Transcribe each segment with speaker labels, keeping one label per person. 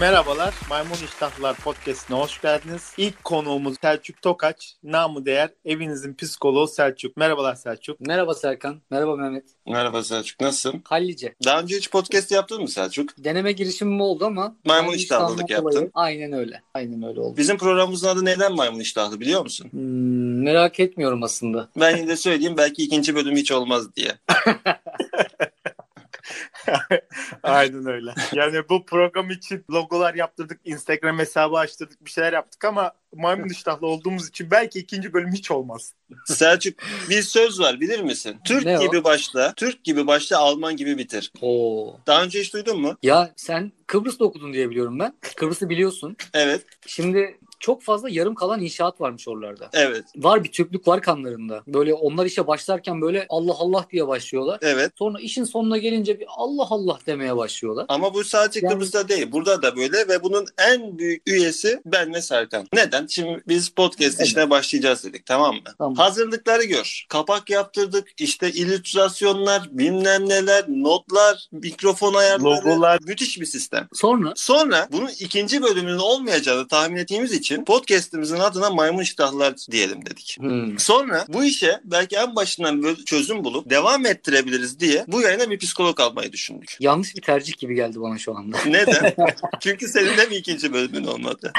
Speaker 1: Merhabalar, Maymun İştahlar Podcast'ine hoş geldiniz. İlk konuğumuz Selçuk Tokaç, namı değer evinizin psikoloğu Selçuk. Merhabalar Selçuk.
Speaker 2: Merhaba Serkan. Merhaba Mehmet.
Speaker 3: Merhaba Selçuk, nasılsın?
Speaker 2: Hallice.
Speaker 3: Daha önce hiç podcast yaptın mı Selçuk?
Speaker 2: Deneme girişimim oldu ama.
Speaker 3: Maymun
Speaker 2: yani
Speaker 3: iştahlılık
Speaker 2: iştahdan dolayı-
Speaker 3: yaptın.
Speaker 2: Aynen öyle. Aynen öyle oldu.
Speaker 3: Bizim programımızın adı neden maymun iştahlı biliyor musun?
Speaker 2: Hmm, merak etmiyorum aslında.
Speaker 3: Ben yine de söyleyeyim belki ikinci bölüm hiç olmaz diye.
Speaker 1: Aynen öyle. Yani bu program için logolar yaptırdık, Instagram hesabı açtırdık, bir şeyler yaptık ama Maymun İştahlı olduğumuz için belki ikinci bölüm hiç olmaz.
Speaker 3: Selçuk bir söz var bilir misin? Türk
Speaker 2: Ne o?
Speaker 3: gibi başla, Türk gibi başla Alman gibi bitir.
Speaker 2: Oo.
Speaker 3: Daha önce hiç duydun mu?
Speaker 2: Ya sen Kıbrıs'ta okudun diye biliyorum ben. Kıbrıs'ı biliyorsun.
Speaker 3: Evet,
Speaker 2: Şimdi çok fazla yarım kalan inşaat varmış oralarda.
Speaker 3: evet,
Speaker 2: Var bir Türklük var kanlarında. Böyle onlar işe başlarken böyle Allah Allah diye başlıyorlar.
Speaker 3: evet.
Speaker 2: Sonra işin sonuna gelince bir Allah Allah demeye başlıyorlar.
Speaker 3: Ama bu sadece
Speaker 2: Yani-
Speaker 3: Kıbrıs'ta değil. Burada da böyle ve bunun en büyük üyesi ben ve Serkan. Neden? Şimdi biz podcast
Speaker 2: Evet.
Speaker 3: işine başlayacağız dedik tamam mı?
Speaker 2: Tamam.
Speaker 3: Hazırlıkları gör. Kapak yaptırdık. işte illüstrasyonlar, bilmem neler, notlar, mikrofon ayarları.
Speaker 1: Logolar.
Speaker 3: Müthiş bir sistem.
Speaker 2: Sonra
Speaker 3: Sonra bunun ikinci bölümünün olmayacağını tahmin ettiğimiz için podcast'imizin adına maymun iştahlar diyelim dedik.
Speaker 2: Hmm.
Speaker 3: Sonra bu işe belki en başından böyle çözüm bulup devam ettirebiliriz diye bu yayına bir psikolog almayı düşündük.
Speaker 2: yanlış bir tercih gibi geldi bana şu anda.
Speaker 3: Neden? Çünkü senin de mi ikinci bölümün olmadı?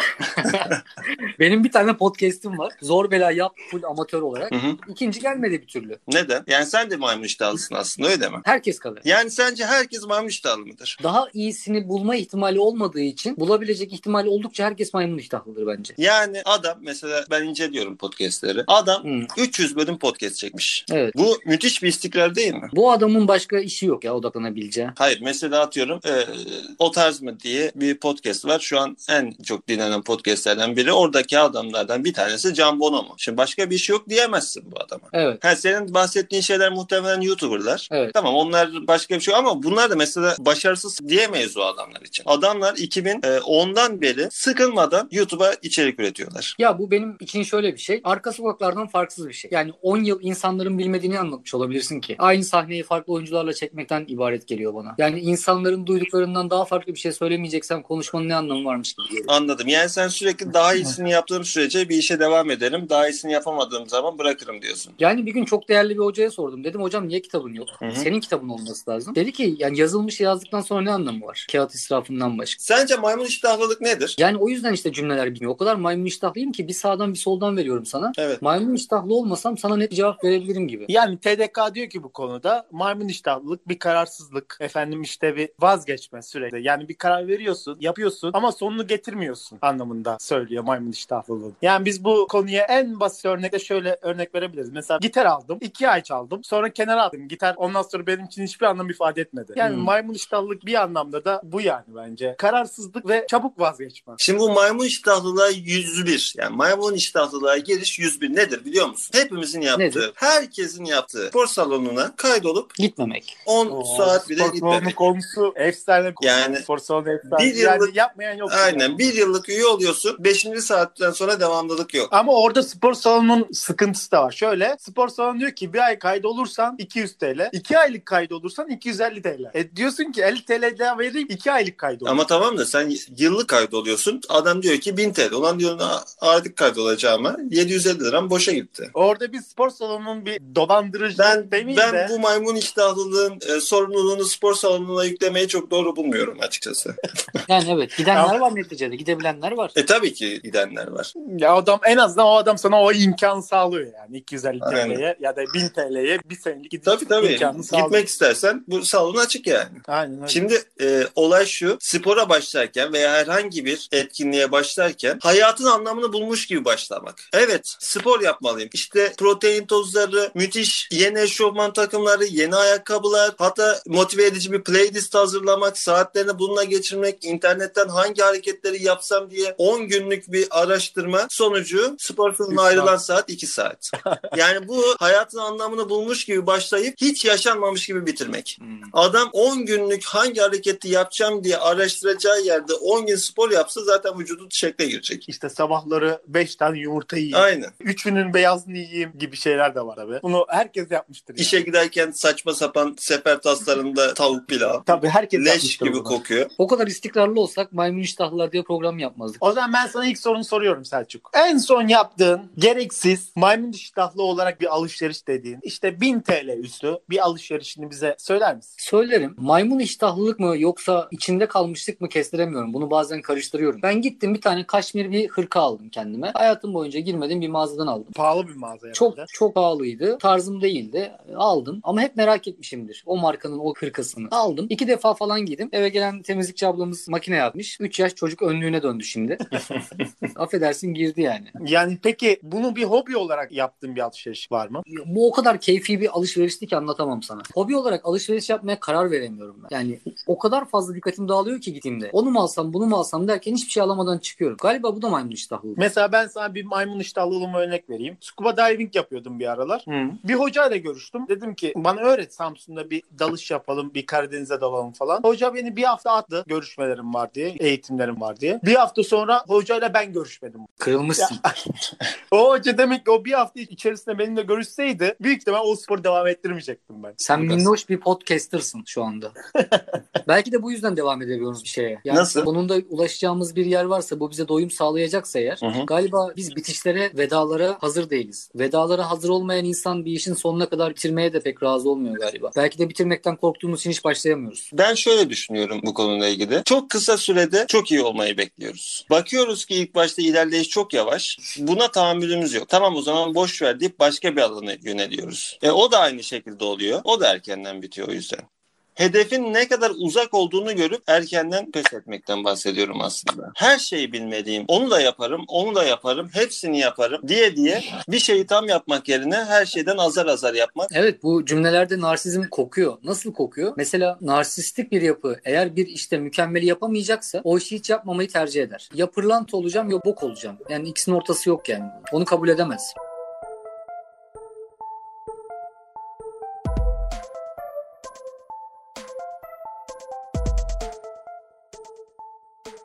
Speaker 2: Benim bir tane podcast'im var. Zor bela yap full amatör olarak.
Speaker 3: Hı hı.
Speaker 2: İkinci gelmedi bir türlü.
Speaker 3: Neden? Yani sen de maymun iştahlısın aslında öyle mi?
Speaker 2: Herkes kalır.
Speaker 3: Yani sence herkes maymun iştahlı mıdır?
Speaker 2: Daha iyisini bulma ihtimali olmadığı için bulabilecek ihtimali oldukça herkes maymun iştahlıdır bence.
Speaker 3: Yani adam mesela ben inceliyorum podcastleri. Adam
Speaker 2: Hmm,
Speaker 3: 300 bölüm podcast çekmiş.
Speaker 2: evet.
Speaker 3: Bu müthiş bir istikrar değil mi?
Speaker 2: Bu adamın başka işi yok ya odaklanabileceği.
Speaker 3: Hayır mesela atıyorum e, o tarz mı diye bir podcast var. Şu an en çok dinlenen podcastlerden biri. Oradaki adamlardan bir tanesi Can Bonomo. Şimdi başka bir iş yok diyemezsin bu adama.
Speaker 2: Evet.
Speaker 3: Ha, senin bahsettiğin şeyler muhtemelen YouTuber'lar.
Speaker 2: Evet.
Speaker 3: Tamam onlar başka bir şey ama bunlar da mesela başarısız diyemeyiz o adamlar için. Adamlar 2010'dan beri sıkılmadan YouTube'a içerik üretiyorlar.
Speaker 2: Ya bu benim için şöyle bir şey. Arka sokaklardan farksız bir şey. Yani 10 yıl insanların bilmediğini anlatmış olabilirsin ki. Aynı sahneyi farklı oyuncularla çekmekten ibaret geliyor bana. Yani insanların duyduklarından daha farklı bir şey söylemeyeceksem konuşmanın ne anlamı varmış gibi geliyor.
Speaker 3: Anladım. Yani sen sürekli daha iyisini yaptığım sürece bir işe devam ederim. Daha iyisini yapamadığım zaman bırakırım diyorsun.
Speaker 2: Yani bir gün çok değerli bir hocaya sordum. Dedim hocam niye kitabın yok?
Speaker 3: Hı hı.
Speaker 2: Senin kitabın olması lazım. Dedi ki yani yazılmış yazdıktan sonra ne anlamı var? Kağıt israfından başka.
Speaker 3: Sence maymun iştahlılık nedir?
Speaker 2: Yani o yüzden işte cümleler bilmiyor. O kadar maymun iştahlıyım ki bir sağdan bir soldan veriyorum sana.
Speaker 3: Evet.
Speaker 2: Maymun iştahlı olmasam sana net bir cevap verebilirim gibi.
Speaker 1: Yani TDK diyor ki bu konuda maymun iştahlılık bir kararsızlık. Efendim işte bir vazgeçme sürekli. Yani bir karar veriyorsun, yapıyorsun ama sonunu getirmiyorsun anlamında söylüyor maymun iştahlılığı. Yani biz bu konuya en basit örnekle şöyle örnek verebiliriz. Mesela gitar aldım, iki ay çaldım. Sonra kenara attım gitar. Ondan sonra benim için hiçbir anlam ifade etmedi. Yani
Speaker 2: Hmm.
Speaker 1: maymun iştahlılık bir anlamda da bu yani bence. Kararsızlık ve çabuk vazgeçme.
Speaker 3: Şimdi bu maymun iştahlılığa 101. Yani maymun iştahlılığa giriş 101 nedir biliyor musun? Hepimizin yaptığı,
Speaker 2: Nedir?
Speaker 3: herkesin yaptığı spor salonuna kaydolup
Speaker 2: Gitmemek.
Speaker 3: 10 saat bile
Speaker 1: Spor salonu
Speaker 3: gitmemek.
Speaker 1: konusu efsane. konu.
Speaker 3: Yani
Speaker 1: spor salonu efsane.
Speaker 3: bir
Speaker 1: yani
Speaker 3: yıllık-
Speaker 1: yapmayan yok.
Speaker 3: Aynen bir yıllık üye oluyorsun. Beşinci saatten sonra devamlılık yok.
Speaker 1: Ama orada spor salonunun sıkıntısı da var. Şöyle spor salonu diyor ki bir ay kaydolursan 200 TL. 2 aylık kaydolursan 250 TL. E diyorsun ki 50 TL daha vereyim 2 aylık kaydol.
Speaker 3: Ama tamam da sen yıllık kaydoluyorsun. Adam diyor ki 1000 TL. Ulan diyor "Aa, artık kaydolacağıma 750 liram boşa gitti.
Speaker 1: Orada bir spor salonunun bir dolandırıcı
Speaker 3: Ben
Speaker 1: demeyeyim
Speaker 3: ben
Speaker 1: de.
Speaker 3: bu maymun iştahlılığın e, sorumluluğunu spor salonuna yüklemeyi çok doğru bulmuyorum açıkçası.
Speaker 2: Yani evet gidenler var neticede. Gidebilenler var.
Speaker 3: E tabii ki gidenler var.
Speaker 1: Ya adam en azından o adam sana o imkan sağlıyor yani 250
Speaker 3: Aynen.
Speaker 1: TL'ye ya da 1000 TL'ye bir senelik gidiş
Speaker 3: Tabii tabii.
Speaker 1: imkanı sağlıyor.
Speaker 3: Gitmek istersen bu salon açık yani.
Speaker 1: Aynen öyle.
Speaker 3: Şimdi e, olay şu. Spora başlarken veya herhangi bir etkinliğe başlarken hayatın anlamını bulmuş gibi başlamak. Evet, spor yapmalıyım. İşte protein tozları, müthiş yeni eşofman takımları, yeni ayakkabılar, hatta motive edici bir playlist hazırlamak, saatlerini bununla geçirmek, internetten hangi hareketleri yapsam diye 10 günlük bir araştırma sonucu spor salonuna
Speaker 1: Üç saat.
Speaker 3: ayrılan saat 2 saat. Yani bu hayatın anlamını bulmuş gibi başlayıp hiç yaşanmamış gibi bitirmek.
Speaker 2: Hmm.
Speaker 3: Adam 10 günlük hangi hareketi yapacağım diye araştıracağı yerde 10 gün spor yapsa zaten vücudu şekle girecek. klasik.
Speaker 1: İşte sabahları 5 tane yumurta yiyeyim.
Speaker 3: Aynen.
Speaker 1: Üçünün beyazını yiyeyim gibi şeyler de var tabii. Bunu herkes yapmıştır. Yani.
Speaker 3: İşe giderken saçma sapan sefer taslarında tavuk pilav.
Speaker 1: Tabii herkes
Speaker 3: Leş
Speaker 1: yapmıştır
Speaker 3: gibi
Speaker 1: bunu.
Speaker 3: kokuyor.
Speaker 2: O kadar istikrarlı olsak maymun iştahlılar diye program yapmazdık.
Speaker 1: O zaman ben sana ilk sorunu soruyorum Selçuk. En son yaptığın gereksiz maymun iştahlı olarak bir alışveriş dediğin işte 1000 TL üstü bir alışverişini bize söyler misin?
Speaker 2: Söylerim. Maymun iştahlılık mı yoksa içinde kalmışlık mı kestiremiyorum. Bunu bazen karıştırıyorum. Ben gittim bir tane kaşmir bir hırka aldım kendime. Hayatım boyunca girmediğim bir mağazadan aldım.
Speaker 1: Pahalı bir mağaza
Speaker 2: Çok
Speaker 1: herhalde.
Speaker 2: çok pahalıydı. Tarzım değildi. Aldım ama hep merak etmişimdir. O markanın o hırkasını. Aldım. iki defa falan giydim. Eve gelen temizlikçi ablamız makine yapmış. 3 yaş çocuk önlüğüne döndü şimdi. Affedersin girdi yani.
Speaker 1: Yani peki bunu bir hobi olarak yaptığın bir alışveriş var mı?
Speaker 2: Bu o kadar keyfi bir alışverişti ki anlatamam sana. Hobi olarak alışveriş yapmaya karar veremiyorum ben. Yani o kadar fazla dikkatim dağılıyor ki gittiğimde. Onu mu alsam bunu mu alsam derken hiçbir şey alamadan çıkıyorum. Galiba bu da maymun iştahlılık.
Speaker 1: Mesela ben sana bir maymun iştahlılığıma örnek vereyim. Scuba diving yapıyordum bir aralar. Bir hocayla görüştüm. Dedim ki bana öğret Samsun'da bir dalış yapalım, bir Karadeniz'e dalalım falan. Hoca beni bir hafta attı. Görüşmelerim var diye, eğitimlerim var diye. Bir hafta sonra hocayla ben görüşmedim.
Speaker 2: Kırılmışsın.
Speaker 1: O hoca demek ki o bir hafta içerisinde benimle görüşseydi büyük ihtimal o sporu devam ettirmeyecektim ben.
Speaker 2: Sen
Speaker 1: Biraz.
Speaker 2: minnoş bir podcaster'sın şu anda. Belki de bu yüzden devam edebiliyoruz bir şeye. Yani
Speaker 3: Nasıl?
Speaker 2: Bunun da ulaşacağımız bir yer varsa bu bize doyum sağlayacaksa eğer.
Speaker 3: Hı hı.
Speaker 2: Galiba biz bitişlere, vedalara hazır değiliz. Vedalara hazır olmayan insan bir işin sonuna kadar bitirmeye de pek razı olmuyor galiba. Belki de bitirmekten korktuğumuz için hiç başlayamıyoruz.
Speaker 3: Ben şöyle düşünüyorum bu konuyla ilgili. Çok kısa sürede çok iyi olmayı bekliyoruz. Bakıyoruz ki ilk başta ilerleyiş çok yavaş. Buna tahammülümüz yok. Tamam o zaman boş ver deyip başka bir alana yöneliyoruz. E, o da aynı şekilde oluyor. O da erkenden bitiyor o yüzden. Hedefin ne kadar uzak olduğunu görüp erkenden pes etmekten bahsediyorum aslında. Her şeyi bilmeliyim. Onu da yaparım, onu da yaparım, hepsini yaparım diye diye bir şeyi tam yapmak yerine her şeyden azar azar yapmak.
Speaker 2: Evet bu cümlelerde narsizm kokuyor. Nasıl kokuyor? Mesela narsistik bir yapı eğer bir işte mükemmeli yapamayacaksa o işi hiç yapmamayı tercih eder. Ya pırlanta olacağım ya bok olacağım. Yani ikisinin ortası yok yani. Onu kabul edemez.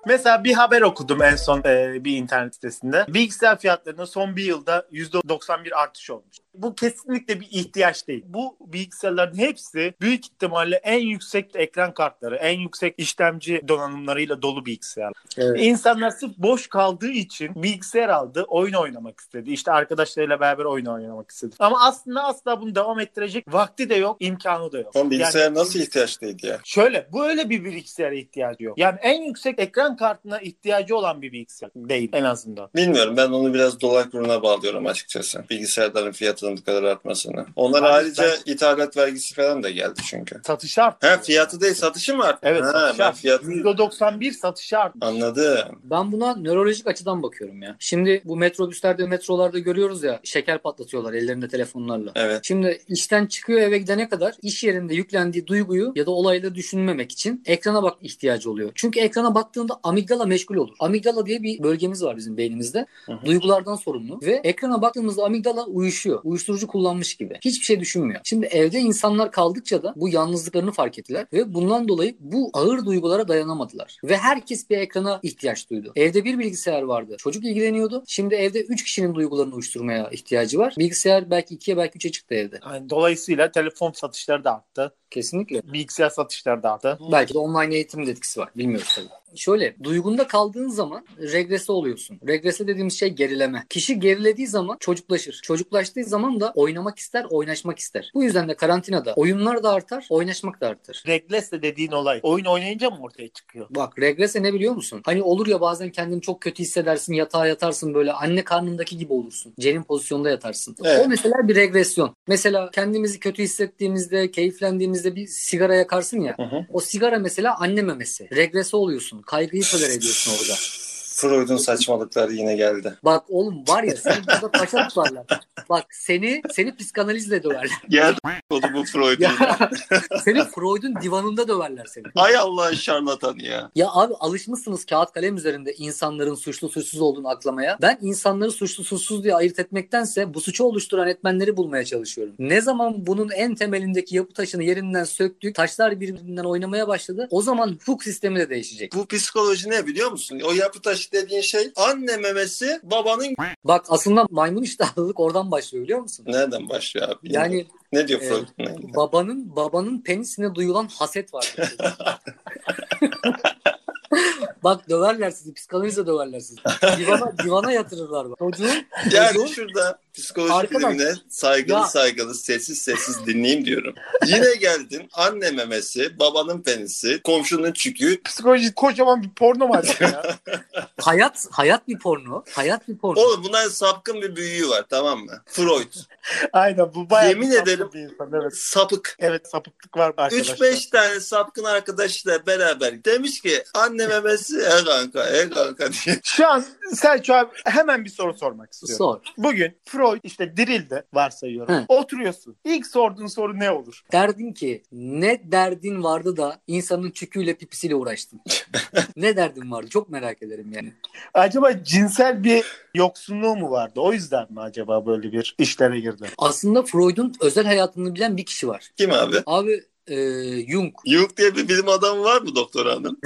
Speaker 1: Mesela bir haber okudum en son e, bir internet sitesinde. Bilgisayar fiyatlarının son bir yılda %91 artış olmuş. Bu kesinlikle bir ihtiyaç değil. Bu bilgisayarların hepsi büyük ihtimalle en yüksek ekran kartları, en yüksek işlemci donanımlarıyla dolu bilgisayar.
Speaker 2: Evet.
Speaker 1: İnsanlar sırf boş kaldığı için bilgisayar aldı, oyun oynamak istedi. İşte arkadaşlarıyla beraber oyun oynamak istedi. Ama aslında asla bunu devam ettirecek vakti de yok, imkanı da yok.
Speaker 3: Tam bilgisayar
Speaker 1: Yani-
Speaker 3: nasıl ihtiyaçtaydı ya?
Speaker 1: Şöyle bu öyle bir bilgisayara ihtiyacı yok. Yani en yüksek ekran kartına ihtiyacı olan bir bilgisayar değil en azından.
Speaker 3: Bilmiyorum ben onu biraz dolar kuruna bağlıyorum açıkçası. Bilgisayarların fiyatının bu kadar artmasını. Onlar
Speaker 1: Abi
Speaker 3: ayrıca
Speaker 1: ben-
Speaker 3: ithalat vergisi falan da geldi çünkü.
Speaker 1: Satışı arttı.
Speaker 3: Ha fiyatı değil satışı mı arttı?
Speaker 1: Evet
Speaker 3: ha,
Speaker 1: satışı
Speaker 3: ben
Speaker 1: arttı.
Speaker 3: fiyatı...
Speaker 1: %91 satışı arttı.
Speaker 3: Anladım.
Speaker 2: Ben buna nörolojik açıdan bakıyorum ya. Şimdi bu metrobüslerde metrolarda görüyoruz ya şeker patlatıyorlar ellerinde telefonlarla.
Speaker 3: Evet.
Speaker 2: Şimdi işten çıkıyor eve gidene kadar iş yerinde yüklendiği duyguyu ya da olayları düşünmemek için ekrana bak ihtiyacı oluyor. Çünkü ekrana baktığında amigdala meşgul olur. Amigdala diye bir bölgemiz var bizim beynimizde.
Speaker 3: Hı hı.
Speaker 2: Duygulardan sorumlu ve ekrana baktığımızda amigdala uyuşuyor. Uyuşturucu kullanmış gibi. Hiçbir şey düşünmüyor. Şimdi evde insanlar kaldıkça da bu yalnızlıklarını fark ettiler ve bundan dolayı bu ağır duygulara dayanamadılar. Ve herkes bir ekrana ihtiyaç duydu. Evde bir bilgisayar vardı. Çocuk ilgileniyordu. Şimdi evde 3 kişinin duygularını uyuşturmaya ihtiyacı var. Bilgisayar belki 2'ye belki 3'e çıktı evde.
Speaker 1: Yani Hani dolayısıyla telefon satışları da arttı.
Speaker 2: Kesinlikle.
Speaker 1: Bilgisayar satışları da arttı.
Speaker 2: Belki de online eğitimin de etkisi var. Bilmiyoruz tabii. Şöyle duygunda kaldığın zaman regrese oluyorsun. Regrese dediğimiz şey gerileme. Kişi gerilediği zaman çocuklaşır. Çocuklaştığı zaman da oynamak ister, oynaşmak ister. Bu yüzden de karantinada oyunlar da artar, oynaşmak da artar.
Speaker 1: Regres de dediğin olay oyun oynayınca mı ortaya çıkıyor?
Speaker 2: Bak regrese ne biliyor musun? Hani olur ya bazen kendini çok kötü hissedersin, yatağa yatarsın böyle anne karnındaki gibi olursun. Cenin pozisyonda yatarsın.
Speaker 3: Evet.
Speaker 2: O mesela bir regresyon. Mesela kendimizi kötü hissettiğimizde, keyiflendiğimizde bir sigara yakarsın ya.
Speaker 3: Hı hı.
Speaker 2: O sigara mesela anne memesi. Regrese oluyorsun. Kaygıyı tolere ediyorsun orada.
Speaker 3: Freud'un saçmalıkları yine geldi.
Speaker 2: Bak oğlum var ya seni burada paşa tutarlar. Bak seni seni psikanalizle döverler.
Speaker 3: Geldi oldu bu Freud'un.
Speaker 2: Ya,
Speaker 3: ya.
Speaker 2: seni Freud'un divanında döverler seni.
Speaker 3: Ay Allah'ın şarlatanı ya.
Speaker 2: Ya abi alışmışsınız kağıt kalem üzerinde insanların suçlu suçsuz olduğunu aklamaya. Ben insanları suçlu suçsuz diye ayırt etmektense bu suçu oluşturan etmenleri bulmaya çalışıyorum. Ne zaman bunun en temelindeki yapı taşını yerinden söktük, taşlar birbirinden oynamaya başladı. O zaman hukuk sistemi de değişecek.
Speaker 3: Bu psikoloji ne biliyor musun? O yapı taşı iştahlılık dediğin şey anne memesi babanın
Speaker 2: Bak aslında maymun iştahlılık oradan başlıyor biliyor musun?
Speaker 3: nereden başlıyor abi?
Speaker 2: Yani
Speaker 3: ne diyor
Speaker 2: e,
Speaker 3: Freud?
Speaker 2: babanın babanın penisine duyulan haset var. Bak döverler sizi. Psikanalize döverler sizi. Divana, divana yatırırlar bak. Çocuğun
Speaker 3: Yani
Speaker 2: çocuğun-
Speaker 3: şurada psikoloji
Speaker 2: Arkadaş,
Speaker 3: bilimine saygılı
Speaker 2: ya-
Speaker 3: saygılı sessiz sessiz dinleyeyim diyorum. Yine geldin anne memesi, babanın penisi, komşunun çükü.
Speaker 1: Psikoloji kocaman bir porno var ya.
Speaker 2: hayat hayat bir porno. Hayat bir porno.
Speaker 3: Oğlum bunların sapkın bir büyüğü var tamam mı? Freud.
Speaker 1: Aynen bu bayağı
Speaker 3: Yemin
Speaker 1: sapkın
Speaker 3: ederim.
Speaker 1: bir insan, evet.
Speaker 3: Sapık.
Speaker 1: evet sapıklık var arkadaşlar.
Speaker 3: 3-5 tane sapkın arkadaşla beraber demiş ki anne memesi e kanka e kanka diye.
Speaker 1: Şu an Selçuk abi hemen bir soru sormak istiyorum.
Speaker 2: Sor.
Speaker 1: Bugün Freud işte dirildi varsayıyorum.
Speaker 2: Hı.
Speaker 1: Oturuyorsun. İlk sorduğun soru ne olur?
Speaker 2: Derdin ki ne derdin vardı da insanın çüküyle pipisiyle uğraştın. ne derdin vardı? Çok merak ederim yani.
Speaker 1: Acaba cinsel bir yoksunluğu mu vardı? O yüzden mi acaba böyle bir işlere girdi?
Speaker 2: Aslında Freud'un özel hayatını bilen bir kişi var.
Speaker 3: Kim abi?
Speaker 2: Abi e, Jung.
Speaker 3: Jung diye bir bilim adamı var mı doktor hanım?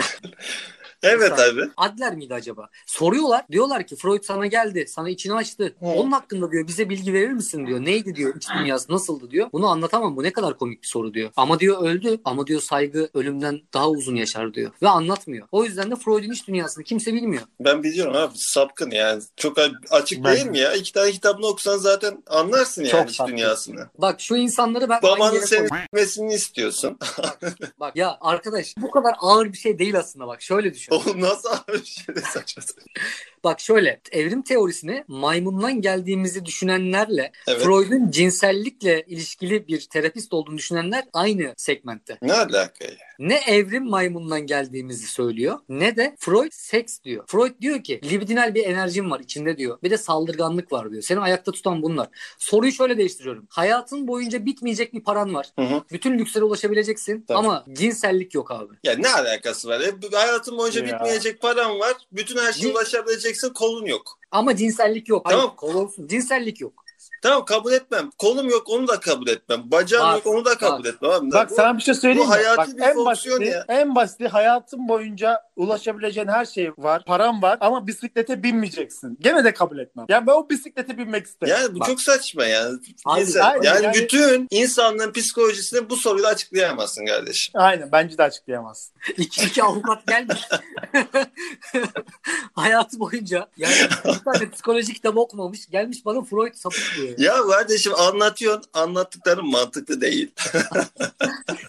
Speaker 3: evet abi.
Speaker 2: Adler miydi acaba? Soruyorlar. Diyorlar ki Freud sana geldi. Sana içini açtı. Onun hakkında diyor bize bilgi verir misin diyor. Neydi diyor iç dünyası nasıldı diyor. Bunu anlatamam. Bu ne kadar komik bir soru diyor. Ama diyor öldü. Ama diyor saygı ölümden daha uzun yaşar diyor. Ve anlatmıyor. O yüzden de Freud'un iç dünyasını kimse bilmiyor.
Speaker 3: Ben biliyorum abi sapkın yani. Çok açık
Speaker 1: Ben-
Speaker 3: değil mi ya? İki tane kitabını okusan zaten anlarsın yani
Speaker 1: Çok
Speaker 3: iç
Speaker 1: sapkın.
Speaker 3: dünyasını.
Speaker 2: Bak şu insanları ben aynı
Speaker 3: Babanın
Speaker 2: yere
Speaker 3: seni
Speaker 2: koyuyorum.
Speaker 3: s**mesini istiyorsun.
Speaker 2: Bak ya arkadaş bu kadar ağır bir şey değil aslında bak. Şöyle düşün.
Speaker 3: Oğlum nasıl abi bir şey de saçma sapan.
Speaker 2: Bak şöyle evrim teorisini maymundan geldiğimizi düşünenlerle
Speaker 3: Evet.
Speaker 2: Freud'un cinsellikle ilişkili bir terapist olduğunu düşünenler aynı segmentte.
Speaker 3: Ne alaka ya?
Speaker 2: Ne evrim maymundan geldiğimizi söylüyor ne de Freud seks diyor. Freud diyor ki libidinal bir enerjim var içinde diyor. Bir de saldırganlık var diyor. Seni ayakta tutan bunlar. Soruyu şöyle değiştiriyorum. Hayatın boyunca bitmeyecek bir paran var.
Speaker 3: Hı hı.
Speaker 2: Bütün lükslere ulaşabileceksin
Speaker 3: Tabii.
Speaker 2: ama cinsellik yok abi.
Speaker 3: Ya ne alakası var? E, bu- hayatın boyunca
Speaker 1: Ya.
Speaker 3: bitmeyecek param var. Bütün her şeye
Speaker 2: Ne?
Speaker 3: ulaşabileceksin kolun yok.
Speaker 2: Ama cinsellik yok. Hayır,
Speaker 3: Tamam.
Speaker 2: kol olsun. Cinsellik yok.
Speaker 3: Tamam kabul etmem. Kolum yok onu da kabul etmem. Bacağım
Speaker 2: Bak,
Speaker 3: yok onu da kabul
Speaker 2: bak.
Speaker 3: etmem. Abi.
Speaker 1: Bak
Speaker 3: Bu-
Speaker 1: sana bir şey söyleyeyim
Speaker 3: bu
Speaker 1: mi?
Speaker 3: hayati
Speaker 1: Bak,
Speaker 3: bir
Speaker 1: en
Speaker 3: fonksiyon
Speaker 1: basiti,
Speaker 3: ya.
Speaker 1: en basiti hayatın boyunca ulaşabileceğin her şey var. Param var ama bisiklete binmeyeceksin. Gene de kabul etmem. Yani ben o bisiklete binmek isterim.
Speaker 3: Yani bu
Speaker 2: Bak.
Speaker 3: çok saçma yani.
Speaker 2: Abi,
Speaker 3: İnsan-
Speaker 1: aynen,
Speaker 3: yani,
Speaker 1: yani-
Speaker 3: bütün insanlığın psikolojisini bu soruyla açıklayamazsın kardeşim.
Speaker 1: Aynen bence de açıklayamazsın.
Speaker 2: İki, iki avukat gelmiş. Hayatı boyunca yani bir tane psikoloji kitabı okumamış. Gelmiş bana Freud sapık diyor.
Speaker 3: Ya kardeşim anlatıyorsun anlattıkların mantıklı değil.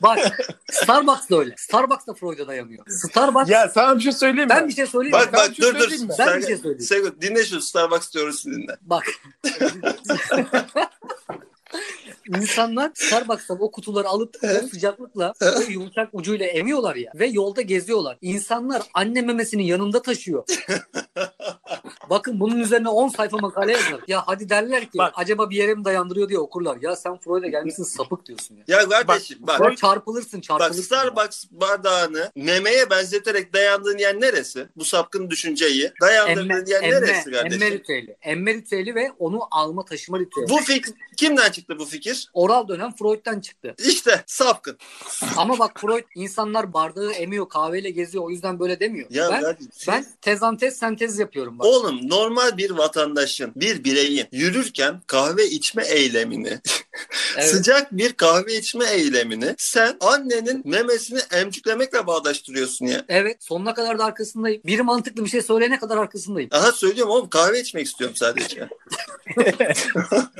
Speaker 2: Bak Starbucks da öyle. Starbucks da Freud'a dayanıyor. Starbucks
Speaker 1: Ya sana bir şey söyleyeyim mi?
Speaker 2: ben bir şey söyleyeyim. mi?
Speaker 3: Bak
Speaker 1: ben bir
Speaker 3: bak
Speaker 1: şey
Speaker 3: dur dur.
Speaker 1: söyleyeyim mi?
Speaker 2: Ben
Speaker 3: Sen-
Speaker 2: bir şey söyleyeyim.
Speaker 3: Sevgili, dinle şu Starbucks teorisini dinle.
Speaker 2: Bak. İnsanlar Starbucks'tan o kutuları alıp o sıcaklıkla o yumuşak ucuyla emiyorlar ya ve yolda geziyorlar. İnsanlar anne memesini yanında taşıyor. Bakın bunun üzerine 10 sayfa makale yazar. Ya hadi derler ki
Speaker 1: Bak.
Speaker 2: acaba bir yere mi dayandırıyor diye okurlar. Ya sen Freud'a gelmişsin sapık diyorsun ya.
Speaker 3: Ya kardeşim bak.
Speaker 2: Sonra çarpılırsın
Speaker 3: Bak
Speaker 2: çarpılırsın. ya.
Speaker 3: Starbucks bardağını memeye benzeterek dayandığın yer neresi? Bu sapkın düşünceyi dayandırdığın
Speaker 2: Emme,
Speaker 3: yer
Speaker 2: emme,
Speaker 3: neresi kardeşim?
Speaker 2: emme ritüeli. Emme ritüeli ve onu alma taşıma ritüeli.
Speaker 3: Bu fikir kimden çıktı bu fikir?
Speaker 2: Oral dönem Freud'dan çıktı.
Speaker 3: İşte sapkın.
Speaker 2: Ama bak Freud insanlar bardağı emiyor kahveyle geziyor o yüzden böyle demiyor.
Speaker 3: Ya
Speaker 2: ben,
Speaker 3: kardeşim,
Speaker 2: ben tezantez sentez yapıyorum bak.
Speaker 3: Oğlum normal bir vatandaşın, bir bireyin yürürken kahve içme eylemini,
Speaker 2: Evet.
Speaker 3: sıcak bir kahve içme eylemini sen annenin memesini emcüklemekle bağdaştırıyorsun ya.
Speaker 2: Evet sonuna kadar da arkasındayım. Biri mantıklı bir şey söyleyene kadar arkasındayım.
Speaker 3: Aha söylüyorum oğlum kahve içmek istiyorum sadece.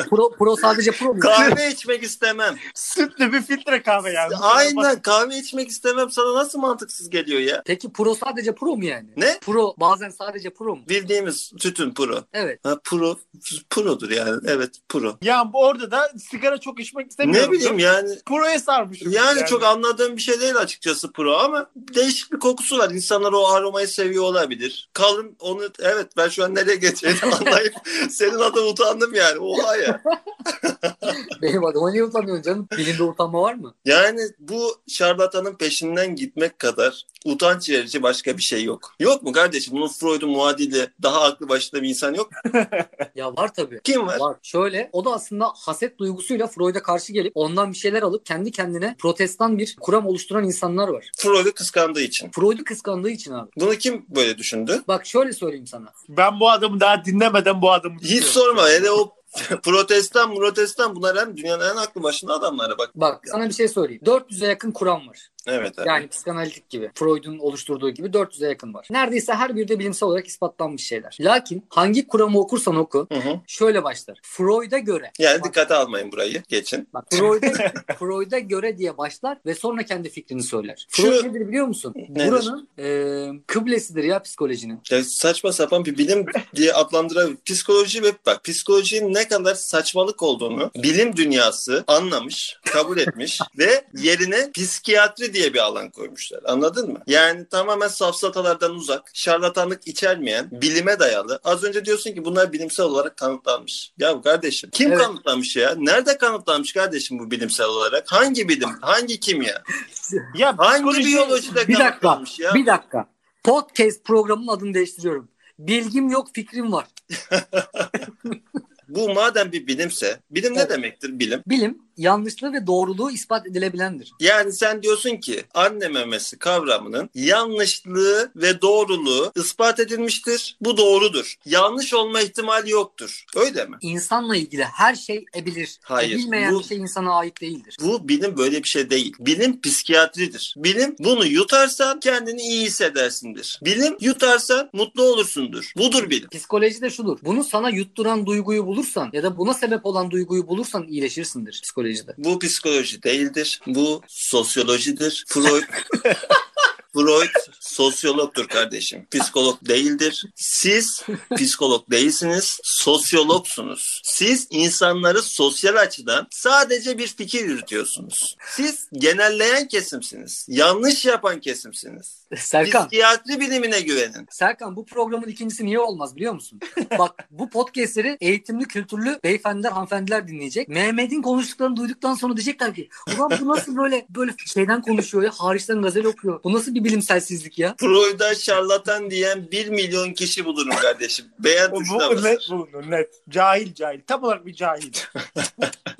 Speaker 2: Pro, pro sadece pro mu?
Speaker 3: kahve içmek istemem.
Speaker 1: Sütlü bir filtre kahve yani.
Speaker 3: Aynen kahve içmek istemem sana nasıl mantıksız geliyor ya?
Speaker 2: Peki pro sadece pro mu yani?
Speaker 3: Ne?
Speaker 2: Pro bazen sadece pro mu?
Speaker 3: Bildiğimiz tütün puro.
Speaker 2: Evet.
Speaker 3: Ha, puro, purodur yani. Evet puro.
Speaker 1: Ya bu orada da sigara çok içmek istemiyorum.
Speaker 3: Ne bileyim yani.
Speaker 1: Pro'ya sarmışım.
Speaker 3: Yani, çok anladığım bir şey değil açıkçası puro ama değişik bir kokusu var. İnsanlar o aromayı seviyor olabilir. Kalın onu evet ben şu an nereye geçeceğini anlayıp senin adına utandım yani. Oha ya.
Speaker 2: Benim adıma niye utanıyorsun canım? Dilinde utanma var mı?
Speaker 3: Yani bu şarlatanın peşinden gitmek kadar utanç verici başka bir şey yok. Yok mu kardeşim? Bunun Freud'un muadili daha aklı başında bir insan yok. mu?
Speaker 2: Ya var tabii.
Speaker 3: Kim var?
Speaker 2: Var. Şöyle o da aslında haset duygusuyla Freud'a karşı gelip ondan bir şeyler alıp kendi kendine protestan bir kuram oluşturan insanlar var.
Speaker 3: Freud'u kıskandığı için.
Speaker 2: Freud'u kıskandığı için abi.
Speaker 3: Bunu kim böyle düşündü?
Speaker 2: Bak şöyle söyleyeyim sana.
Speaker 1: Ben bu adamı daha dinlemeden bu adamı
Speaker 3: Hiç
Speaker 1: tutuyorum.
Speaker 3: sorma. Hele o protestan protestan bunlar hem dünyanın en aklı başında adamları bak.
Speaker 2: Bak sana bir şey söyleyeyim. 400'e yakın kuram var.
Speaker 3: Evet abi.
Speaker 2: Yani psikanalitik gibi. Freud'un oluşturduğu gibi 400'e yakın var. Neredeyse her biri de bilimsel olarak ispatlanmış şeyler. Lakin hangi kuramı okursan oku
Speaker 3: Hı hı.
Speaker 2: şöyle başlar. Freud'a göre.
Speaker 3: Yani dikkate almayın burayı. Geçin.
Speaker 2: Bak Freud'a, Freud'a göre diye başlar ve sonra kendi fikrini söyler.
Speaker 3: Şu-
Speaker 2: Freud nedir biliyor musun?
Speaker 3: Nedir?
Speaker 2: Buranın e, kıblesidir ya psikolojinin.
Speaker 3: Ya saçma sapan bir bilim diye adlandıran psikoloji ve bak psikolojinin ne kadar saçmalık olduğunu bilim dünyası anlamış, kabul etmiş ve yerine psikiyatri diye bir alan koymuşlar. Anladın mı? Yani tamamen safsatalardan uzak, şarlatanlık içermeyen, bilime dayalı. Az önce diyorsun ki bunlar bilimsel olarak kanıtlanmış. Ya kardeşim kim
Speaker 2: Evet.
Speaker 3: kanıtlamış ya? Nerede kanıtlanmış kardeşim bu bilimsel olarak? Hangi bilim? Hangi kimya?
Speaker 1: Ya
Speaker 3: Hangi
Speaker 1: psikoloji-
Speaker 3: biyolojide
Speaker 2: Bir dakika.
Speaker 3: kanıtlanmış ya?
Speaker 2: Bir dakika. Podcast programının adını değiştiriyorum. Bilgim yok fikrim var.
Speaker 3: Bu madem bir bilimse, bilim ne
Speaker 2: Evet.
Speaker 3: demektir bilim?
Speaker 2: Bilim yanlışlığı ve doğruluğu ispat edilebilendir.
Speaker 3: Yani sen diyorsun ki anne memesi kavramının yanlışlığı ve doğruluğu ispat edilmiştir. Bu doğrudur. Yanlış olma ihtimali yoktur. Öyle mi?
Speaker 2: İnsanla ilgili her şey ebilir.
Speaker 3: Hayır,
Speaker 2: Bilmeyen
Speaker 3: bu-
Speaker 2: bir şey insana ait değildir.
Speaker 3: Bu bilim böyle bir şey değil. Bilim psikiyatridir. Bilim bunu yutarsan kendini iyi hissedersindir. Bilim yutarsan mutlu olursundur. Budur bilim.
Speaker 2: Psikoloji de şudur. Bunu sana yutturan duyguyu bulursan ya da buna sebep olan duyguyu bulursan iyileşirsindir psikolojide.
Speaker 3: Bu psikoloji değildir. Bu sosyolojidir. Freud Freud sosyologtur kardeşim. Psikolog değildir. Siz psikolog değilsiniz. Sosyologsunuz. Siz insanları sosyal açıdan sadece bir fikir yürütüyorsunuz. Siz genelleyen kesimsiniz. Yanlış yapan kesimsiniz.
Speaker 2: Serkan,
Speaker 3: Psikiyatri bilimine güvenin.
Speaker 2: Serkan bu programın ikincisi niye olmaz biliyor musun? Bak bu podcastleri eğitimli, kültürlü beyefendiler, hanımefendiler dinleyecek. Mehmet'in konuştuklarını duyduktan sonra diyecekler ki ulan bu nasıl böyle böyle şeyden konuşuyor ya, hariçten gazel okuyor. Bu nasıl bir bilimselsizlik ya?
Speaker 3: Freud'a şarlatan diyen 1 milyon kişi bulunur kardeşim. Beğen
Speaker 1: Bu,
Speaker 3: tuşuna
Speaker 1: bu
Speaker 3: basın.
Speaker 1: net bulunur net. Cahil cahil. Tam olarak bir cahil.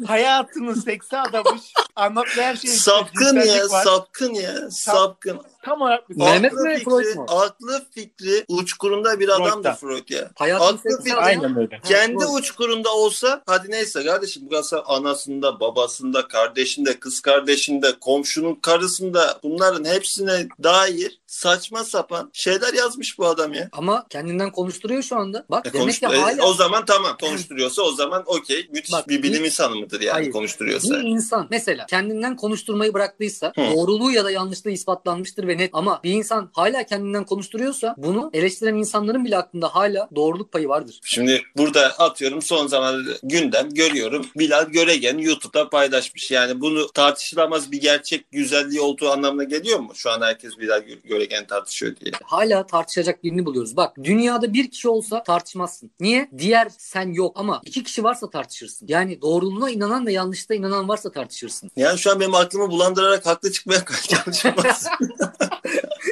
Speaker 1: Hayatının seksi adamış. Anlattığı her şey.
Speaker 3: Sapkın ya,
Speaker 1: Var.
Speaker 3: sapkın ya, sapkın.
Speaker 1: Tam olarak bir
Speaker 2: Mehmet
Speaker 3: aklı
Speaker 2: mi,
Speaker 3: fikri,
Speaker 2: Freud mu?
Speaker 3: Aklı fikri uçkurunda bir adamdı
Speaker 1: Freud'da.
Speaker 3: Freud ya.
Speaker 2: Hayatın
Speaker 3: Aklı
Speaker 2: seksi
Speaker 3: fikri-
Speaker 2: adamı-
Speaker 1: Aynen öyle.
Speaker 3: Kendi
Speaker 2: Freud.
Speaker 3: uçkurunda olsa hadi neyse kardeşim bu kadar sen anasında, babasında, kardeşinde, kız kardeşinde, komşunun karısında bunların hepsine dair saçma sapan şeyler yazmış bu adam ya.
Speaker 2: Ama kendinden konuşturuyor şu anda. Bak
Speaker 3: E,
Speaker 2: demek
Speaker 3: konuş-
Speaker 2: ki
Speaker 3: e,
Speaker 2: hala
Speaker 3: O zaman tamam konuşturuyorsa o zaman okey müthiş
Speaker 2: Bak,
Speaker 3: bir bilim
Speaker 2: bir-
Speaker 3: insanı mıdır yani
Speaker 2: Hayır.
Speaker 3: konuşturuyorsa.
Speaker 2: bir insan mesela kendinden konuşturmayı bıraktıysa
Speaker 3: Hı.
Speaker 2: doğruluğu ya da yanlışlığı ispatlanmıştır ve net ama bir insan hala kendinden konuşturuyorsa bunu eleştiren insanların bile aklında hala doğruluk payı vardır.
Speaker 3: Şimdi burada atıyorum son zamanlarda gündem görüyorum. Bilal Göregen YouTube'da paylaşmış. Yani bunu tartışılamaz bir gerçek güzelliği olduğu anlamına geliyor mu? Şu an herkes Bilal Gö- Göregen tartışıyor diye.
Speaker 2: Hala tartışacak birini buluyoruz. Bak dünyada bir kişi olsa tartışmazsın. Niye? Diğer sen yok ama iki kişi varsa tartışırsın. Yani doğruluğuna inanan ve yanlışta inanan varsa tartışırsın.
Speaker 3: Yani şu an benim aklımı bulandırarak haklı çıkmaya çalışmaz.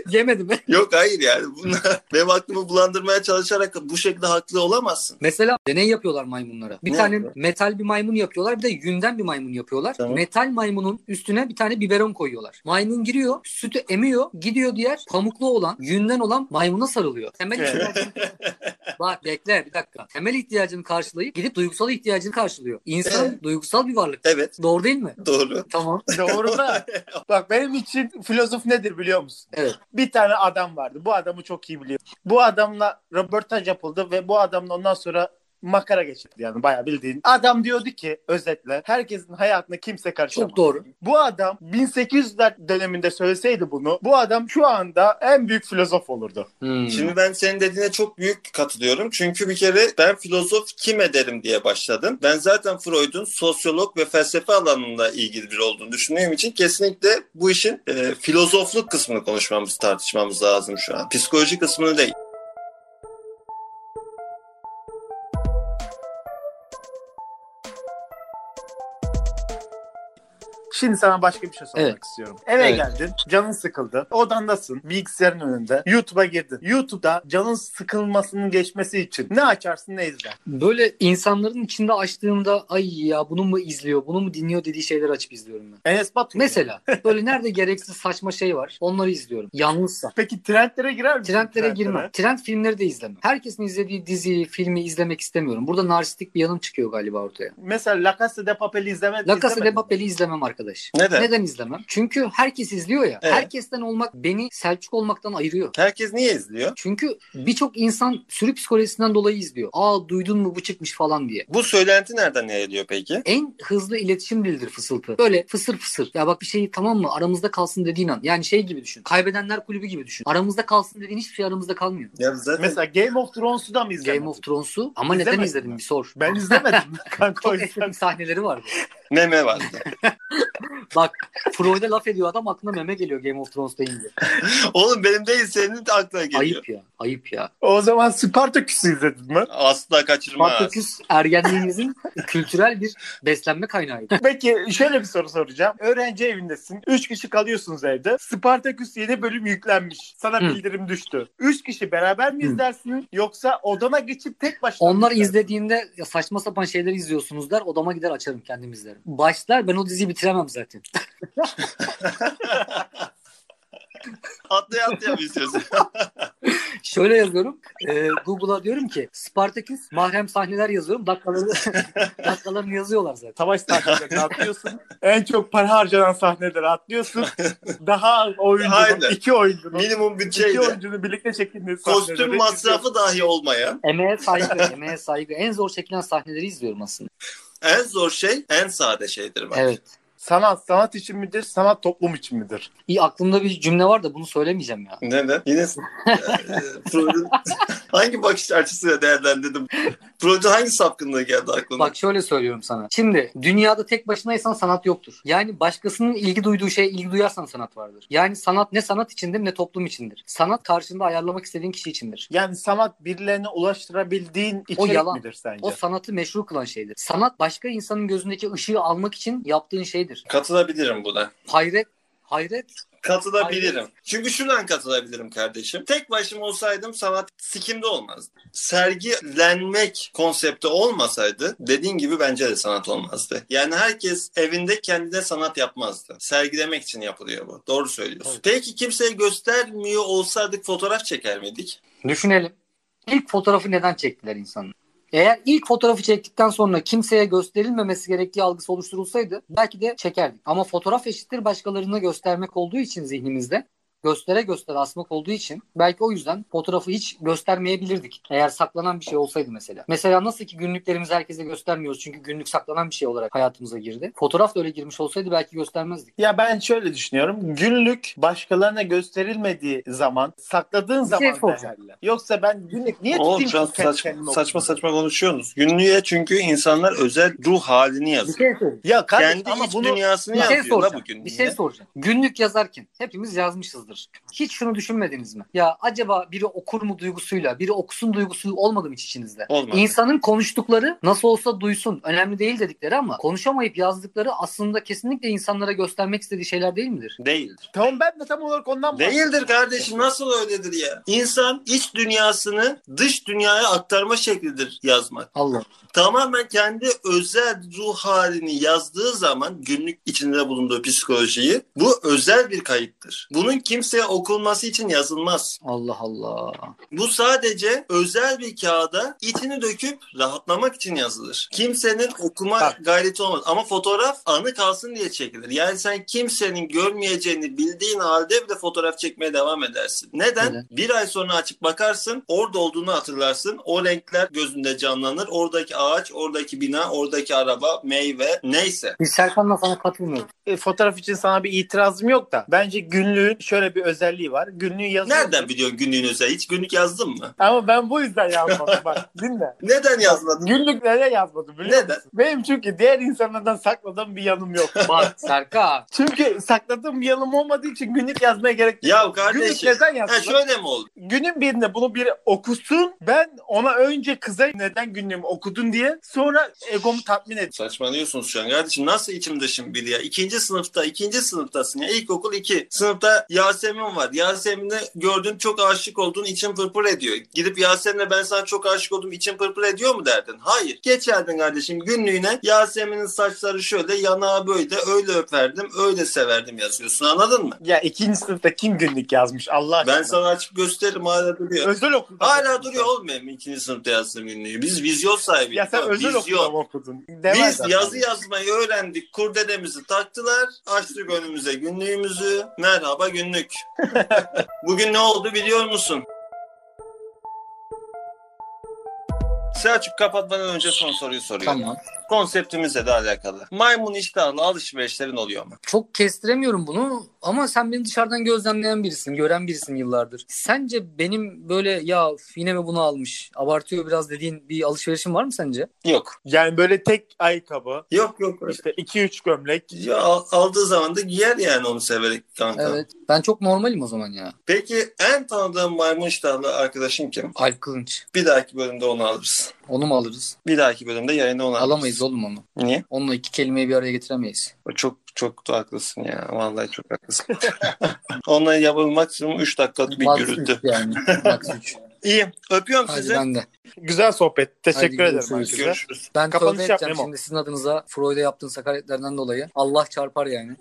Speaker 2: Yemedim mi?
Speaker 3: Yok hayır yani. Bunlar, benim aklımı bulandırmaya çalışarak bu şekilde haklı olamazsın.
Speaker 2: Mesela deney yapıyorlar maymunlara. Bir
Speaker 3: Ne
Speaker 2: tane
Speaker 3: yapıyor?
Speaker 2: metal bir maymun yapıyorlar, bir de yünden bir maymun yapıyorlar.
Speaker 3: Tamam.
Speaker 2: Metal maymunun üstüne bir tane biberon koyuyorlar. Maymun giriyor, sütü emiyor, gidiyor diğer pamuklu olan, yünden olan maymuna sarılıyor. Temel
Speaker 1: Evet.
Speaker 2: ihtiyacını... Bak bekle bir dakika. Temel ihtiyacını karşılayıp gidip duygusal ihtiyacını karşılıyor. İnsan duygusal bir varlık.
Speaker 3: Evet
Speaker 2: Doğru değil mi?
Speaker 3: doğru.
Speaker 2: Tamam.
Speaker 1: Doğru da bak benim için filozof nedir biliyor musun?
Speaker 2: Evet.
Speaker 1: Bir tane adam vardı. Bu adamı çok iyi biliyor. Bu adamla röportaj yapıldı ve bu adamla ondan sonra makara geçirdi yani bayağı bildiğin. Adam diyordu ki özetle herkesin hayatına kimse karışamaz.
Speaker 2: Çok doğru.
Speaker 1: Bu adam 1800'ler döneminde söyleseydi bunu bu adam şu anda en büyük filozof olurdu.
Speaker 2: Hmm.
Speaker 3: Şimdi ben senin dediğine çok büyük katılıyorum. Çünkü bir kere ben filozof kim ederim diye başladım. Ben zaten Freud'un sosyolog ve felsefe alanında ilgili biri olduğunu düşündüğüm için kesinlikle bu işin e, filozofluk kısmını konuşmamız, tartışmamız lazım şu an. Psikoloji kısmını değil.
Speaker 1: Şimdi sana başka bir şey sormak
Speaker 2: Evet.
Speaker 1: istiyorum. Eve
Speaker 2: Evet.
Speaker 1: geldin, canın sıkıldı. Odandasın, bilgisayarın önünde. YouTube'a girdin. YouTube'da canın sıkılmasının geçmesi için ne açarsın ne izler.
Speaker 2: Böyle insanların içinde açtığımda ay ya bunu mu izliyor, bunu mu dinliyor dediği şeyler açıp izliyorum ben.
Speaker 1: Enes Batur.
Speaker 2: Mesela böyle nerede gereksiz saçma şey var onları izliyorum. Yalnızsa.
Speaker 1: Peki trendlere girer misin?
Speaker 2: Trendlere girmem. Trend filmleri de izlemem. Herkesin izlediği diziyi, filmi izlemek istemiyorum. Burada narsistik bir yanım çıkıyor galiba ortaya.
Speaker 1: Mesela La Casa de Papel'i izleme,
Speaker 2: La Casa de
Speaker 1: izlemedin mi?
Speaker 2: Papel'i izlemem arkadaş.
Speaker 3: Neden?
Speaker 2: Neden izlemem? Çünkü herkes izliyor ya.
Speaker 3: Evet.
Speaker 2: Herkesten olmak beni Selçuk olmaktan ayırıyor.
Speaker 3: Herkes niye izliyor?
Speaker 2: Çünkü birçok insan sürü psikolojisinden dolayı izliyor. Aa duydun mu bu çıkmış falan diye.
Speaker 3: Bu söylenti nereden yayılıyor peki?
Speaker 2: En hızlı iletişim dilidir fısıltı. Böyle fısır fısır. Ya bak bir şeyi tamam mı aramızda kalsın dediğin an. Yani şey gibi düşün. Kaybedenler kulübü gibi düşün. Aramızda kalsın dediğin hiçbir şey aramızda kalmıyor.
Speaker 3: Ya zaten
Speaker 1: Mesela Game of Thrones'u da mı izlemedin?
Speaker 2: Game of Thrones'u ama
Speaker 1: İzlemedin
Speaker 2: neden
Speaker 1: mi?
Speaker 2: izledin bir sor.
Speaker 1: Ben izlemedim kanka o
Speaker 2: Çok
Speaker 1: yüzden.
Speaker 2: estetik sahneleri vardı.
Speaker 3: meme vardı.
Speaker 2: Bak Freud'e laf ediyor adam aklına meme geliyor Game of Thrones deyince.
Speaker 3: Oğlum benim değil senin de aklına geliyor.
Speaker 2: Ayıp ya. Ayıp ya.
Speaker 1: O zaman Spartaküs'ü izledin mi?
Speaker 3: Asla kaçırma.
Speaker 2: Spartaküs ergenliğimizin kültürel bir beslenme kaynağıydı.
Speaker 1: Peki şöyle bir soru soracağım. Öğrenci evindesin. 3 kişi kalıyorsunuz evde. Spartaküs yeni bölüm yüklenmiş. Sana
Speaker 2: Hı.
Speaker 1: bildirim düştü. 3 kişi beraber mi
Speaker 2: Hı.
Speaker 1: izlersin yoksa odana geçip tek başına mı
Speaker 2: Onlar
Speaker 1: izlersin?
Speaker 2: izlediğinde ya saçma sapan şeyler izliyorsunuz der. Odama gider açarım kendim izlerim. Başlar ben o diziyi bitiremem zaten.
Speaker 3: Atlaya atlaya mı istiyorsun?
Speaker 2: Şöyle yazıyorum. e, Google'a diyorum ki Spartaküs mahrem sahneler yazıyorum. Dakikaları, dakikalarını yazıyorlar zaten.
Speaker 1: Savaş sahnelerini atlıyorsun. en çok para harcanan sahneleri atlıyorsun. Daha oyuncunun,
Speaker 3: Aynen.
Speaker 1: iki oyuncunun,
Speaker 3: Minimum
Speaker 1: iki
Speaker 3: bütçeyle.
Speaker 1: oyuncunun birlikte çekildiği sahneleri.
Speaker 3: Kostüm masrafı dahi olmayan.
Speaker 2: Emeğe saygı, emeğe saygı. En zor çekilen sahneleri izliyorum aslında.
Speaker 3: En zor şey en sade şeydir bak.
Speaker 2: Evet.
Speaker 1: Sanat, sanat için midir, sanat toplum için midir?
Speaker 2: İyi aklımda bir cümle var da bunu söylemeyeceğim ya.
Speaker 3: Neden? Yine Ee, Freud'un hangi bakış açısıyla değerlendirdim? Freud'un hangi sapkınlığı geldi aklına?
Speaker 2: Bak şöyle söylüyorum sana. Şimdi dünyada tek başınaysan sanat yoktur. Yani başkasının ilgi duyduğu şeye ilgi duyarsan sanat vardır. Yani sanat ne sanat içindir ne toplum içindir. Sanat karşında ayarlamak istediğin kişi içindir.
Speaker 1: Yani sanat birilerine ulaştırabildiğin içerik
Speaker 2: yalan.
Speaker 1: midir sence?
Speaker 2: O sanatı meşru kılan şeydir. Sanat başka insanın gözündeki ışığı almak için yaptığın şeydir.
Speaker 3: Katılabilirim buna.
Speaker 2: Hayret, hayret.
Speaker 3: Katılabilirim. Çünkü şuradan katılabilirim kardeşim. Tek başım olsaydım sanat sikimde olmazdı. Sergilenmek konsepti olmasaydı dediğin gibi bence de sanat olmazdı. Yani herkes evinde kendine sanat yapmazdı. Sergilemek için yapılıyor bu. Doğru söylüyorsun.
Speaker 2: Evet.
Speaker 3: Peki kimseye göstermiyor olsaydık fotoğraf çeker miydik?
Speaker 2: Düşünelim. İlk fotoğrafı neden çektiler insanın? Eğer ilk fotoğrafı çektikten sonra kimseye gösterilmemesi gerektiği algısı oluşturulsaydı belki de çekerdik. Ama fotoğraf eşittir başkalarına göstermek olduğu için zihnimizde göstere göstere asmak olduğu için belki o yüzden fotoğrafı hiç göstermeyebilirdik. Eğer saklanan bir şey olsaydı mesela. Mesela nasıl ki günlüklerimizi herkese göstermiyoruz çünkü günlük saklanan bir şey olarak hayatımıza girdi. Fotoğraf da öyle girmiş olsaydı belki göstermezdik.
Speaker 1: Ya ben şöyle düşünüyorum. Günlük başkalarına gösterilmediği zaman sakladığın
Speaker 2: Bir şey
Speaker 1: zaman
Speaker 2: soracağım.
Speaker 1: değerli. Yoksa ben günlük niye
Speaker 3: Oğlum
Speaker 1: tutayım
Speaker 3: şu an
Speaker 1: ki kendi
Speaker 3: saçma,
Speaker 1: kendime
Speaker 3: saçma
Speaker 1: okuyayım?
Speaker 3: saçma konuşuyorsunuz. Günlüğe çünkü insanlar özel ruh halini
Speaker 2: Bir
Speaker 3: yazıyor.
Speaker 2: şey söyleyeyim.
Speaker 1: Ya kardeşim
Speaker 3: Kendi
Speaker 1: ama
Speaker 3: iç
Speaker 1: bunu E,
Speaker 3: dünyasını
Speaker 2: Bir şey
Speaker 3: yazıyor la
Speaker 2: soracağım.
Speaker 3: bugün.
Speaker 2: Bir şey soracağım. Günlük yazarken hepimiz yazmışızdır. Hiç şunu düşünmediniz mi? Ya acaba biri okur mu duygusuyla, biri okusun duygusu olmadı mı hiç içinizde?
Speaker 3: Olmadı.
Speaker 2: İnsanın konuştukları nasıl olsa duysun, önemli değil dedikleri ama konuşamayıp yazdıkları aslında kesinlikle insanlara göstermek istediği şeyler değil midir?
Speaker 3: Değildir.
Speaker 1: tamam ben de tam olarak ondan
Speaker 3: Değildir
Speaker 1: bahsediyorum.
Speaker 3: kardeşim nasıl öyledir ya? İnsan iç dünyasını dış dünyaya aktarma şeklidir yazmak.
Speaker 2: Allah.
Speaker 3: Tamamen kendi özel ruh halini yazdığı zaman günlük içinde bulunduğu psikolojiyi bu özel bir kayıttır. Bunun kimseye okunması için yazılmaz.
Speaker 2: Allah Allah.
Speaker 3: Bu sadece özel bir kağıda içini döküp rahatlamak için yazılır. Kimsenin okuma
Speaker 1: Bak.
Speaker 3: gayreti olmaz. Ama fotoğraf anı kalsın diye çekilir. Yani sen kimsenin görmeyeceğini bildiğin halde bir de fotoğraf çekmeye devam edersin. Neden?
Speaker 2: Neden?
Speaker 3: Bir ay sonra açıp bakarsın, orada olduğunu hatırlarsın. O renkler gözünde canlanır. Oradaki ağaç, oradaki bina, oradaki araba, meyve neyse.
Speaker 2: Biz Serkan'la sana katılmıyoruz.
Speaker 1: E, fotoğraf için sana bir itirazım yok da bence günlüğün şöyle şöyle bir özelliği var. Günlüğü yazıyor.
Speaker 3: Nereden biliyorsun günlüğün özel? Hiç günlük yazdın mı?
Speaker 1: Ama ben bu yüzden yazmadım bak. Dinle.
Speaker 3: Neden yazmadın?
Speaker 1: Günlüklere yazmadım biliyor
Speaker 3: Neden?
Speaker 1: musun? Benim çünkü diğer insanlardan sakladığım bir yanım yok.
Speaker 2: Bak Serkan.
Speaker 1: Çünkü sakladığım bir yanım olmadığı için günlük yazmaya gerek yok.
Speaker 3: Ya
Speaker 1: Günlük
Speaker 3: kardeşim.
Speaker 1: neden
Speaker 3: Ha
Speaker 1: yazsın?
Speaker 3: şöyle mi oldu?
Speaker 1: Günün birinde bunu biri okusun. Ben ona önce kıza neden günlüğümü okudun diye sonra egomu tatmin edeyim.
Speaker 3: Saçmalıyorsunuz şu an kardeşim. Nasıl içim dışım biri ya? İkinci sınıfta, ikinci sınıftasın ya. İlkokul iki. Sınıfta Yasemin var. Yasemin'e gördün çok aşık oldun için pırpır ediyor. Gidip Yasemin'e ben sana çok aşık oldum için pırpır ediyor mu derdin? Hayır. Geçerdin kardeşim günlüğüne Yasemin'in saçları şöyle yanağı böyle öyle öperdim öyle severdim yazıyorsun anladın mı?
Speaker 1: Ya ikinci sınıfta kim günlük yazmış Allah aşkına?
Speaker 3: Ben sana açıp gösteririm hala duruyor.
Speaker 1: özel okudum.
Speaker 3: Hala duruyor oğlum benim ikinci sınıfta yazdığım günlüğü. Biz vizyon sahibiyiz.
Speaker 1: Ya sen
Speaker 3: Tamam,
Speaker 1: özel
Speaker 3: vizyon.
Speaker 1: okudum okudun. Demez
Speaker 3: Biz
Speaker 1: zaten.
Speaker 3: yazı yazmayı öğrendik. Kurdelemizi taktılar. Açtık önümüze günlüğümüzü. Merhaba günlük. Bugün ne oldu biliyor musun? Selçuk kapatmadan önce son soruyu soruyorum.
Speaker 2: Tamam.
Speaker 3: Konseptimizle de alakalı. Maymun iştahlı alışverişlerin oluyor mu?
Speaker 2: Çok kestiremiyorum bunu ama sen beni dışarıdan gözlemleyen birisin, gören birisin yıllardır. Sence benim böyle ya üf, yine mi bunu almış, abartıyor biraz dediğin bir alışverişim var mı sence?
Speaker 3: Yok.
Speaker 1: Yani böyle tek ayakkabı
Speaker 3: Yok yok.
Speaker 1: işte 2-3 gömlek.
Speaker 3: Ya, al- aldığı zaman da giyer yani onu severek kanka.
Speaker 2: Evet. Ben çok normalim o zaman ya.
Speaker 3: Peki en tanıdığın maymun iştahlı arkadaşın kim?
Speaker 2: Alp Kılınç.
Speaker 3: Bir dahaki bölümde onu alırız.
Speaker 2: Onu mu alırız?
Speaker 3: Bir dahaki bölümde yayına onu alırız.
Speaker 2: Alamayız oğlum onu.
Speaker 3: Niye?
Speaker 2: Onunla iki kelimeyi bir araya getiremeyiz.
Speaker 3: Çok çok da haklısın ya. Vallahi çok haklısın. Onunla yapılmak için 3 dakikalık bir
Speaker 2: Max
Speaker 3: gürültü.
Speaker 2: üç yani. Max üç.
Speaker 3: İyi. Öpüyorum
Speaker 2: Hadi
Speaker 3: sizi.
Speaker 2: ben de.
Speaker 1: Güzel sohbet. Teşekkür
Speaker 2: Hadi
Speaker 1: ederim
Speaker 2: görüşürüz.
Speaker 1: herkese.
Speaker 3: Görüşürüz.
Speaker 2: Ben
Speaker 1: Kapanış
Speaker 2: tövbe edeceğim
Speaker 1: yapmayayım
Speaker 2: şimdi sizin adınıza Freud'a yaptığın sakaretlerden dolayı. Allah çarpar yani.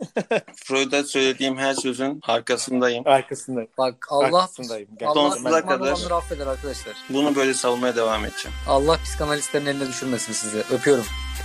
Speaker 3: Freud'a söylediğim her sözün arkasındayım.
Speaker 1: Arkasındayım.
Speaker 2: Bak Allah
Speaker 1: Arkasındayım. Gerçekten.
Speaker 2: Allah
Speaker 3: Sonsuza
Speaker 2: Sonsuza
Speaker 3: kadar.
Speaker 2: kadar. affeder arkadaşlar.
Speaker 3: Bunu böyle savunmaya devam edeceğim.
Speaker 2: Allah psikanalistlerin eline düşürmesin sizi. Öpüyorum.